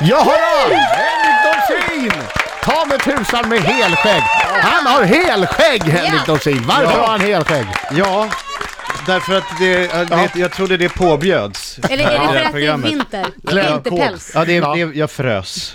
Jag har allt! Henrik Dorsin! Ta med tusan med helskägg! Han har helskägg Henrik Ja. Dorsin! Varför Ja. har han helskägg? Ja, därför att det, eh, det, jag trodde det påbjöds. Eller Ja. är det Det för här att det är programmet. vinter? Kläder, Vinterpäls? Mm. Ja, det, Ja. det, jag frös.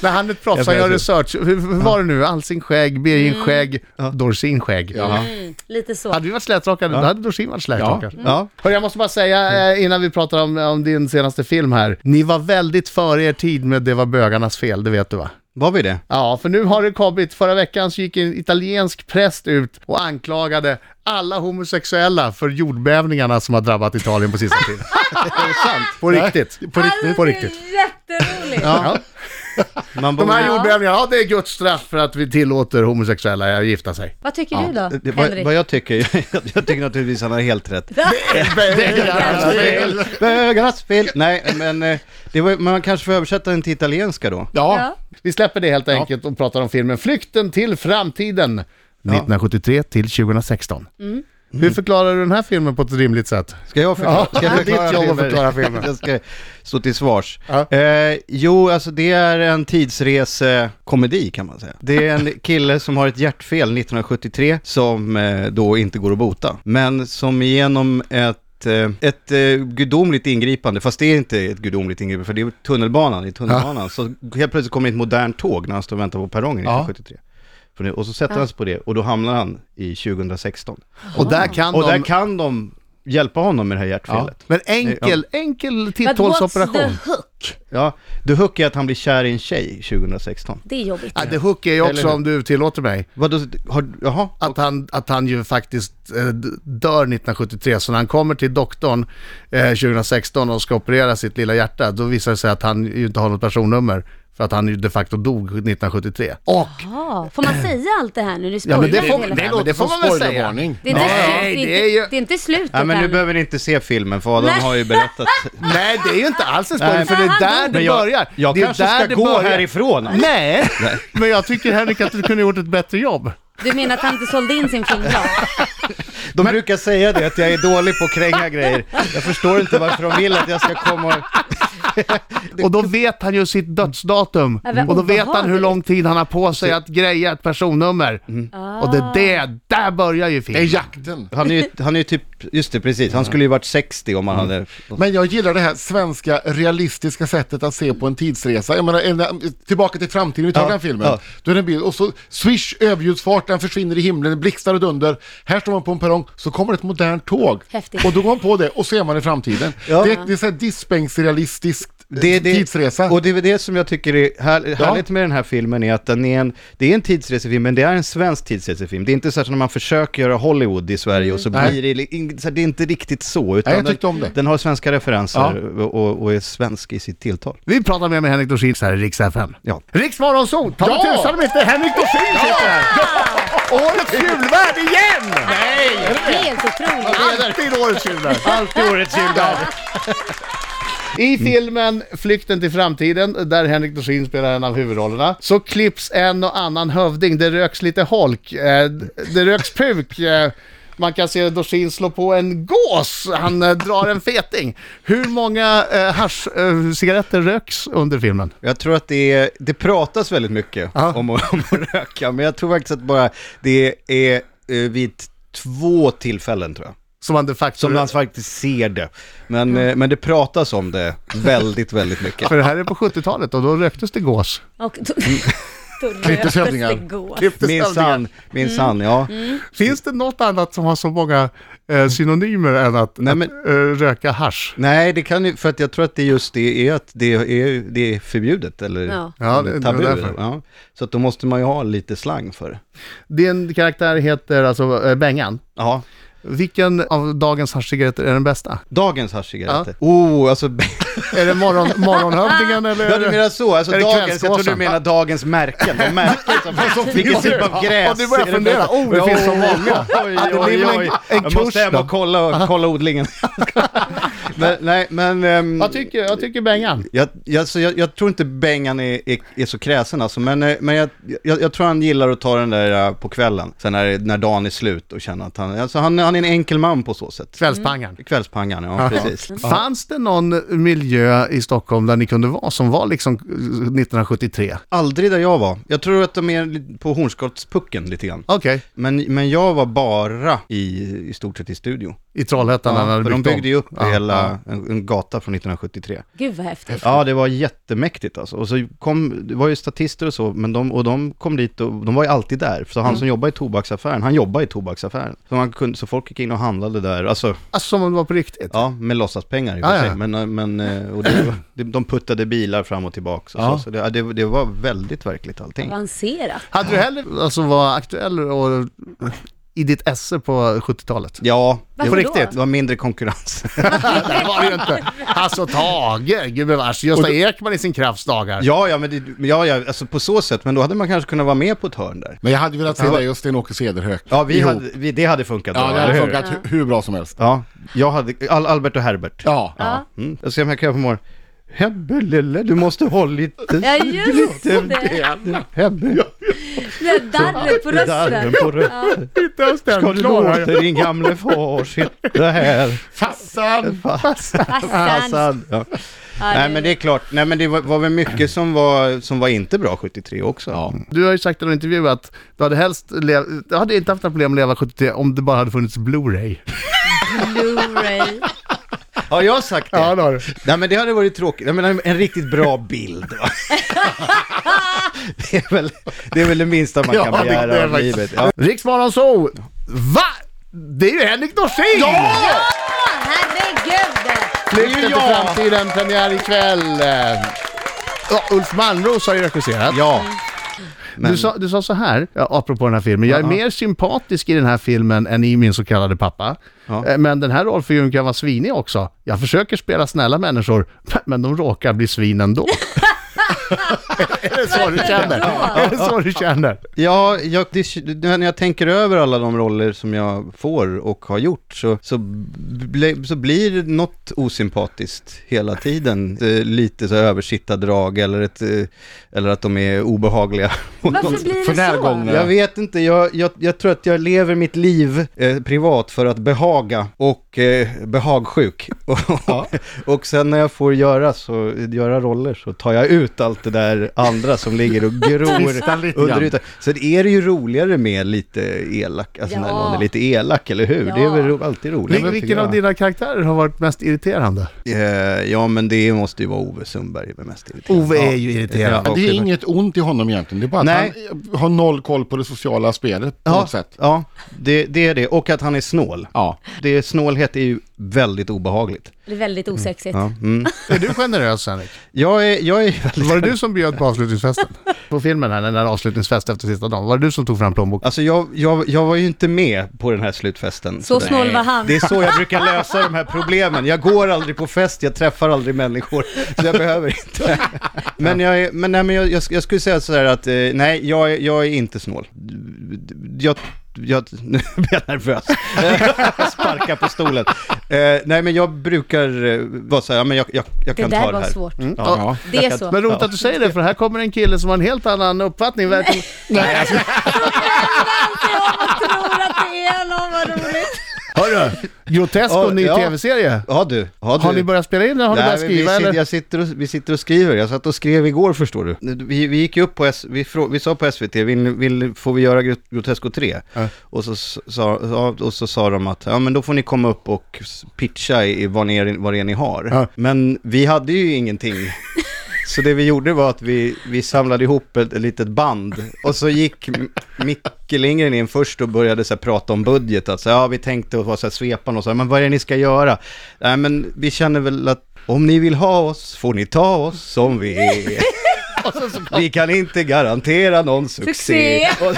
När han är ett proffs, Jag han gör vet research. Hur, hur var det nu? Alsing skägg, Birgin skägg, Dorsin skägg. Mm, lite så. Hade vi varit slätrakade, då hade Dorsin varit Ja. Mm. slätrakad. Ja. Hörru, jag måste bara säga eh, innan vi pratar om, om din senaste film här. Ni var väldigt före er tid med Det var bögarnas fel, det vet du va? Var vi det? Ja, för nu har det kommit, förra veckan så gick en italiensk präst ut och anklagade alla homosexuella för jordbävningarna som har drabbat Italien på sista tiden. Är det sant? På riktigt. På Alltså, riktigt. På riktigt. Det är jätteroligt! Ja. Man De här Ja. jordbävningarna, ja det är Guds straff för att vi tillåter homosexuella att gifta sig. Vad tycker du då, Det- vad, Henrik? vad jag tycker, jag, tycker naturligtvis han har helt rätt. Bögarnas fel. Bögarnas fel! Nej, men eh, det var, man kanske får översätta den till italienska då. Ja, Ja. vi släpper det helt enkelt och pratar om filmen Flykten till framtiden 1973 till 2016. Hur förklarar du den här filmen på ett rimligt sätt? Ska jag förklara? Ja, Ska jag det är ditt jobb att förklara filmen. jag ska stå till svars. Ja. Eh, jo, alltså det är en tidsresekomedi kan man säga. Det är en kille som har ett hjärtfel 1973 som eh, då inte går att bota. Men som genom ett eh, ett eh, gudomligt ingripande, fast det är inte ett gudomligt ingripande, för det är tunnelbanan, i tunnelbanan, så helt plötsligt kommer ett modernt tåg när han står och väntar på perrongen Ja. 1973. För nu- Och så sätter han sig på det, och då hamnar han i 2016. Och där kan Och de... där kan de hjälpa honom med det här ja. hjärtfelet. Men enkel, enkel But what's titthålsoperation. the hook? Ja. The Hook är att han blir kär i en tjej 2016. Det är jobbigt. Ja, det hook är ju också, Eller hur? om du tillåter mig, Vadå, har, jaha? att han, att han ju faktiskt eh, d- dör 1973. Så när han kommer till doktorn eh, 2016 och ska operera sitt lilla hjärta, då visar det sig att han ju inte har något personnummer. För att han ju de facto dog 1973. Och Jaha, Ah, får man säga allt det här nu? Du Ja, men det spoilar får- hela det tiden. låter som spoilervarning. Det är inte, Nej, det är det är ju- inte, det är inte slutet Nej men nu än. behöver ni inte se filmen för Adam Nej. har ju berättat. Nej, det är ju inte alls en spoiler, Nej, för det är men- där det jag, börjar. Jag det är kanske där ska det gå börjar. härifrån. Nej, men jag tycker Henrik att du kunde gjort ett bättre jobb. Du menar att han inte sålde in sin film bra? De brukar säga det, att jag är dålig på att kränga grejer. Jag förstår inte varför de vill att jag ska komma och... Och då vet han ju sitt dödsdatum. Ja, vad Och då vet han hur obehagligt. lång tid han har på sig att greja ett personnummer. Ah. Och det är det, där börjar ju Det är filmen. jakten. Han är ju han är ju typ, just det precis, han skulle ju varit 60 om han Mm. hade... Men jag gillar det här svenska realistiska sättet att se på en tidsresa. Jag menar, en, tillbaka till framtiden, vi tar Ja, den filmen. ja. Då är det en bild och så swish, överljudsfart, den försvinner i himlen, det blixtar och dunder. Här står man på en perrong, så kommer ett modernt tåg. Häftigt. Och då går man på det och så är man i framtiden. Ja. Det, det är så här dispensrealistisk Det är det, tidsresa. Och det är det som jag tycker är här, härligt med den här filmen är att den är en, det är en tidsresefilm, men det är en svensk tidsresefilm. Det är inte så att när man försöker göra Hollywood i Sverige och så blir det, li- in- så här, det är inte riktigt så. Utan Nej, jag tyckte om det. Den, den har svenska referenser och, och är svensk i sitt tilltal. Vi pratar mer med Henrik Dorsin här i Rix FM. Ja. Rix Morgonzoo, ta mig Ja! tusan om inte Henrik Dorsin sitter här! Årets julvärd igen! Nej! Helt otroligt. Alltid årets julvärd! Alltid årets juldag! I filmen Flykten till framtiden, där Henrik Dorsin spelar en av huvudrollerna, så klipps en och annan hövding. Det röks lite holk, eh, det röks puk. Eh, man kan se Dorsin slå på en gås, han eh, drar en feting. Hur många eh, haschcigaretter eh, cigaretter röks under filmen? Jag tror att det, är, det pratas väldigt mycket Ja. om, att- om att röka, men jag tror faktiskt att bara det är eh, vid två tillfällen tror jag. Som man de facto... Som man faktiskt ser det. Men, eh, men det pratas om det väldigt, väldigt mycket. För det här är på 70-talet och då röktes det gås. Och då, Mm. då Klipptes hövdingar. röktes det gås. Minsann, Mm. minsann, ja. Finns det något annat som har så många eh, synonymer än att, Nej, men- att eh, röka hasch? Nej, det kan ju, för att jag tror att det just det är att det är, det är förbjudet eller Ja. Ja, det- det är tabu. därför. ja. Så att då måste man ju ha lite slang för det. Din karaktär heter alltså eh, Bengan. Ja. Vilken av dagens haschcigaretter är den bästa? Dagens haschcigaretter. Oh, alltså... Är det morgon, morgonhövdingen eller? Ja, du menar så. Alltså Är det dagens, jag tror du kvällskåsan? menar dagens märken. De märken som... Vilken typ av gräs? Och du börjar är det fundera. bästa? Oh, det finns så många. Oj, det oj, blir väl oj. en- en Jag måste kurs hem då. och kolla, kolla odlingen. Men, nej, men... ehm, Vad tycker, jag tycker Bengan? jag, jag, så jag, jag tror inte Bengan är, är, är så kräsen alltså, men, eh, men jag, jag, jag tror han gillar att ta den där eh, på kvällen, sen när, när dagen är slut och känna att han, alltså han, han är en enkel man på så sätt. Kvällspangaren. Kvällspangan, Mm. ja, precis. Fanns det någon miljö i Stockholm där ni kunde vara som var liksom 1973? Aldrig där jag var. Jag tror att de är li- på Hornsgottspucken lite grann. Okej, Men, men jag var bara i, i stort sett i studio. i Trollhättan när du för de byggt om. byggde ju upp Ja, ja. hela En, en gata från 1973. Gud vad häftigt. Ja, det var jättemäktigt alltså. Och så kom, det var ju statister och så, men de, och de kom dit och de var ju alltid där. Så han Mm. som jobbar i tobaksaffären, han jobbar i tobaksaffären. Så, man kunde, så folk gick in och handlade där, alltså, Alltså som om det var på riktigt. ja, med låtsaspengar i och för Ja, ja. sig. Men, eh, men eh, och det, de puttade bilar fram och tillbaka och Ja. så. Så det, ja, det, det var väldigt verkligt allting. Avancerat. Hade du hellre alltså, var aktuell och eh, i ditt esse på 70-talet? Ja, det Varför var, På då? riktigt? det var mindre konkurrens. det var det ju inte. Hasse och Tage, gubevars. Gösta Ekman i sin krafts dagar. ja, ja, men det, ja, ja, alltså på så sätt, men då hade man kanske kunnat vara med på ett hörn där. Men jag hade velat se dig och Sten-Åke Cederhök Ja, vi ihop. hade, vi, det hade funkat Ja, bra, det eller hade hur? funkat hu- hur bra som helst. Ja, jag hade, Al, Albert och Herbert. Ja. Ja. Mm. Jag ska hem här på morgonen. Hebbe lille, du måste ha lite... Ja, just det. Hebbe, Det där darret på darren rösten. på rösten. Inte ens den Ska du låta din gamle far sitta här? Fassan! Fassan. Hassan. Ja. Ja, Nej, men det är klart. Nej, men det var, var väl mycket som var, som var inte bra 73 också. Ja. Du har ju sagt i någon intervju att du hade helst lev... du hade inte haft några problem att leva 73 om det bara hade funnits Blu-ray. Blu-ray. Har jag sagt det? det har du. Nej men det hade varit tråkigt, jag menar en riktigt bra bild va? det, är väl, det är väl det minsta man kan Ja, det- det är begära av faktiskt- livet. Ja. Riksmorgon så! Va? Det är ju Henrik Dorsin! Ja! Ja, herregud. Flykten till Ja! framtiden, premiär ikväll. Eh, Ja, Ulf Malmros har ju regisserat. ja. Men, Du, sa, du sa så här, ja, apropå den här filmen, jag är mer sympatisk i den här filmen än i min så kallade pappa. Ja. Eh, Men den här rollfiguren kan vara svinig också. Jag försöker spela snälla människor, men de råkar bli svin ändå. är det så du känner? Varför då? Är det så du känner? ja, jag, det, när jag tänker över alla de roller som jag får och har gjort så, så, ble, så blir det något osympatiskt hela tiden. Eh, lite så översitta drag eller, ett, eh, eller att de är obehagliga. på något Varför sätt. blir För det närgångna. så? Jag vet inte, jag, jag, jag tror att jag lever mitt liv eh, privat för att behaga och eh, behagsjuk. Och, och sen när jag får göra, så, göra roller så tar jag ut allt det där andra som ligger och Twistar gror lite under grann. ytan. Så det är det ju roligare med lite elak, alltså när Ja. någon är lite elak, eller hur? Det är väl Ja. ro, alltid roligt. Vil- Vilken av dina karaktärer har varit mest irriterande? Eh, ja, men det måste ju vara Ove Sundberg med mest irriterande. Ove är ju irriterande. Ja. Det är inget ont i honom egentligen, det är bara att Nej. han har noll koll på det sociala spelet på Ja, något sätt. ja det, det är det. Och att han är snål. Ja. Det, snålhet är ju väldigt obehagligt. Det är väldigt osexigt. Ja, mm. Är du generös Henrik? jag, är, jag är väldigt... Var det du som bjöd på avslutningsfesten? På filmen här, den där avslutningsfesten efter sista dagen, var det du som tog fram plånboken? Alltså jag, jag, jag var ju inte med på den här slutfesten. Så där. snål var han. Det är så jag brukar lösa de här problemen. Jag går aldrig på fest, jag träffar aldrig människor, så jag behöver inte. Men jag, är, men nej, men jag, jag, jag skulle säga sådär att, eh, nej, jag, är- jag är inte snål. Jag, jag, nu blir jag nervös. Jag sparkar på stolen. Eh, nej, men jag brukar eh, vara såhär, ja men jag, jag, jag Det kan ta där det var här. Mm. svårt. Ja. Det är så. Men roligt att du säger det, för här kommer en kille som har en helt annan uppfattning. Välkommen. Jag tror att det är någon, vad roligt. Hörru, Grotesco, Ja, ny ja. tv-serie. Ja du, ja, du. Har ni börjat spela in den? Har ni Nej, börjat men vi, skriva sit- eller? jag sitter och, vi sitter och skriver, jag satt och skrev igår förstår du. Vi, vi gick ju upp på, S, vi, frå, vi sa på SVT, vill, vill, får vi göra Gro- Grotesco 3? Och, så, s- sa, ja, och så sa de att, ja men då får ni komma upp och s- pitcha i vad, ni, är- vad det är ni har. Ja. Men vi hade ju ingenting. Så det vi gjorde var att vi, vi samlade ihop ett, ett litet band och så gick M- Micke Lindgren in först och började så här, prata om budget. Alltså, ja, vi tänkte att vara så här, svepande och så här, men vad är det ni ska göra? Nej, men vi känner väl att om ni vill ha oss får ni ta oss som vi är. Vi kan inte garantera någon succé. Succé. Och,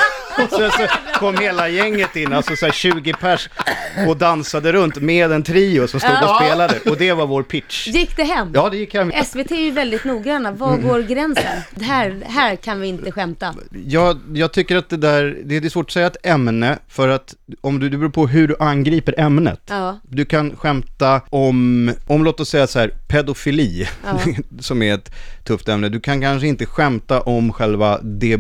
Sen så kom hela gänget in, alltså så här 20 pers, och dansade runt med en trio som stod och Ja. spelade. Och det var vår pitch. Gick det hem? Ja, Mm. det gick hem. SVT är ju väldigt noggranna. Var går gränsen? Det här, här kan vi inte skämta. Jag, jag tycker att det där, det är svårt att säga ett ämne, för att om du, det beror på hur du angriper ämnet. Ja. Du kan skämta om, om låt oss säga så här, pedofili, Ja. som är ett tufft ämne. Du kan kanske inte skämta om själva det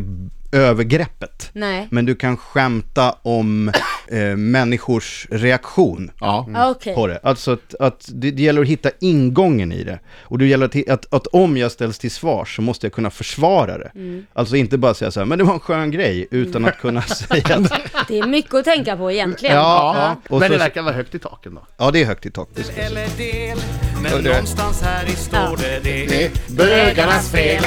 övergreppet. Nej. Men du kan skämta om eh, människors reaktion Ja. Ja, Okej. på det. Alltså att, att det, det gäller att hitta ingången i det. Och det gäller att, att, att om jag ställs till svars så måste jag kunna försvara det. Alltså inte bara säga så här, men det var en skön grej, utan att kunna säga att, Det är mycket att tänka på egentligen. ja, och Men det så, verkar vara högt i taken då. ja, det är högt i tak. Det ska jag säga. eller del Men någonstans här i står det det är Bögarnas fel.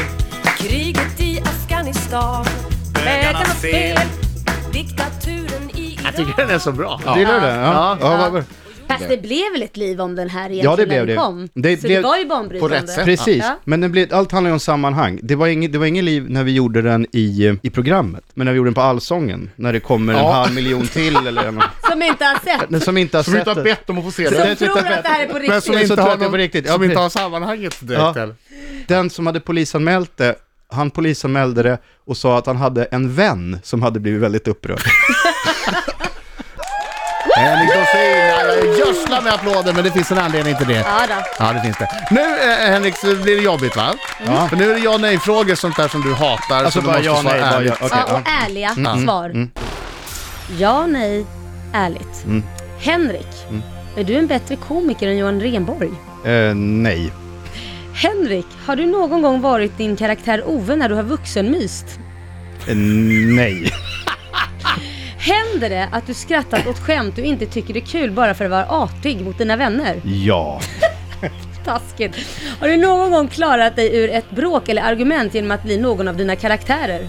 Kriget i Afghanistan, bögarnas fel diktaturen i Jag tycker Iran. den är så bra. Gillar du det? Ja. Ja. Ja, vad- vad- Fast det blev väl ett liv om den här egentligen Ja, det när blev den det. kom? Det Så blev- det var ju banbrytande. På rätt sätt. Precis, Ja. men det blir, allt handlar ju om sammanhang. Det var inget det var ingen liv när vi gjorde den i, i programmet, men när vi gjorde den på Allsången, när det kommer en Ja. halv miljon till eller en, Som inte har sett. Men som inte har Som du sett inte har det. bett om att få se Som det. är tror att det här är på Men riktigt. som inte, Så tar har jag det på någon, riktigt. som inte Precis. har sammanhanget direkt Ja. heller. Den som hade polisanmält det, han polisanmälde det och sa att han hade en vän som hade blivit väldigt upprörd. Henrik Dorsin, gödsla med applåder men det finns en anledning till det. Ja, då. Ja, det finns det. Nu eh, Henrik, så blir det jobbigt va? Ja. För nu är det ja nej-frågor, sånt där som du hatar. Alltså så bara du ja, måste nej, svara bara ärligt. ja. Okej, ja, och ärliga svar. Ja, nej, ärligt. Henrik, är du en bättre komiker än Johan Renborg? Eh, nej. Henrik, har du någon gång varit din karaktär Ove när du har vuxenmyst? Eh, nej. Händer det att du skrattat åt skämt du inte tycker är kul bara för att vara artig mot dina vänner? Ja. Taskigt. Har du någon gång klarat dig ur ett bråk eller argument genom att bli någon av dina karaktärer?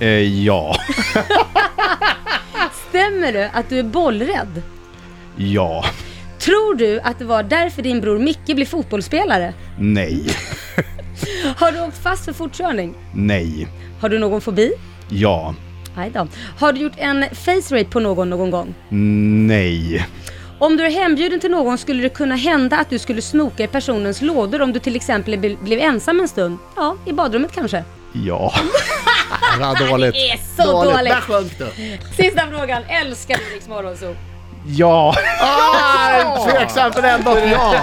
Eh, ja. Stämmer det att du är bollrädd? Ja. Tror du att det var därför din bror Micke blev fotbollsspelare? Nej. Har du åkt fast för fortkörning? Nej. Har du någon fobi? Ja. Nej då. Har du gjort en face rape på någon någon gång? Nej. Om du är hembjuden till någon skulle det kunna hända att du skulle snoka i personens lådor om du till exempel bl- blev ensam en stund? Ja, i badrummet kanske. Ja. Ja, dåligt. Det är så dåligt! Där sjönk du. Sista frågan. Älskar du Rix Morgonzoo? Ja. Ah, Tveksamt men ändå ja.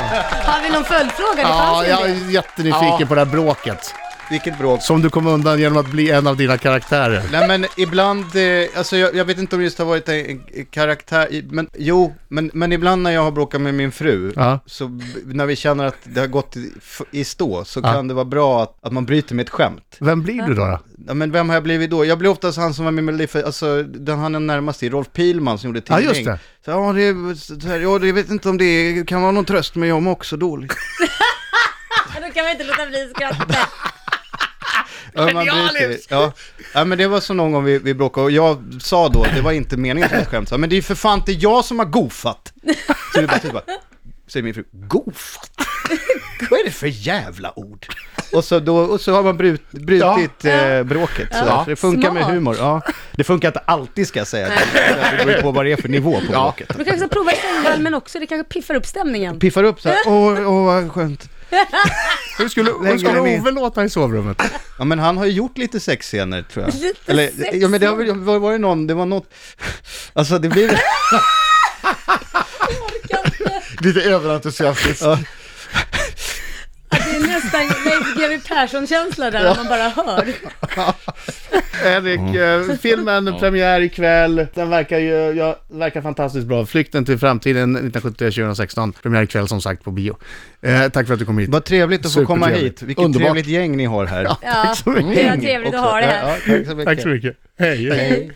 Har vi någon följdfråga? Det Ja, fanns jag ju är jättenyfiken på det här bråket. Vilket bråk. Som du kom undan genom att bli en av dina karaktärer. Nej men ibland, eh, alltså jag, jag vet inte om det just har varit en en karaktär, i- men jo, men, men ibland när jag har bråkat med min fru, Ja. så b- när vi känner att det har gått i, f- i stå, så Ja. kan det vara bra att, att man bryter med ett skämt. Vem blir du då? då? Ja, men vem har jag blivit då? Jag blir oftast han som var med i Melodifestivalen, alltså den han är närmast till, Rolf Pilman som gjorde Ja, Tidning. just det. Så, ja, det, är så här, ja, det- jag vet inte om det är- kan vara någon tröst, men jag mår också dåligt. det. Då kan vi inte låta bli att skratta. Ja, man bryter, ja. ja, men det var så någon gång vi, vi bråkade och jag sa då att det var inte meningen som ett skämt. Så, Men det är ju för fan inte jag som har goofat. Så det bara typ bara, säger min fru, goofat? Vad är det för jävla ord? Och så, då, och så har man brut, brutit eh, bråket. Så, Ja. så det funkar Smart. med humor. Ja. Det funkar inte alltid ska jag säga. Det beror ju på vad det är för nivå på bråket. Du kanske ska prova sängvalmen också. Det kanske piffar upp stämningen. Piffar upp så här, åh, åh vad skönt. Hur skulle, hur Längre skulle ner. Ove låta i sovrummet? Ja men han har ju gjort lite sexscener tror jag. Lite ja, men det har väl- var, var det någon, det var något, alltså det blir... Lite överentusiastiskt. Ja. Det är nästan Leif GW Persson-känsla där, när man bara hör. Henrik, eh, filmen premiär ikväll. Den verkar ju ja, verkar fantastiskt bra. Flykten till framtiden 1973-2016. Premiär ikväll som sagt på bio. Eh, tack för att du kom hit. Vad trevligt att få komma hit, vilket Underbart. trevligt gäng ni har här. Ja, så mycket. det var trevligt att ha det här. Ja, tack så mycket. Tack så mycket. Hej.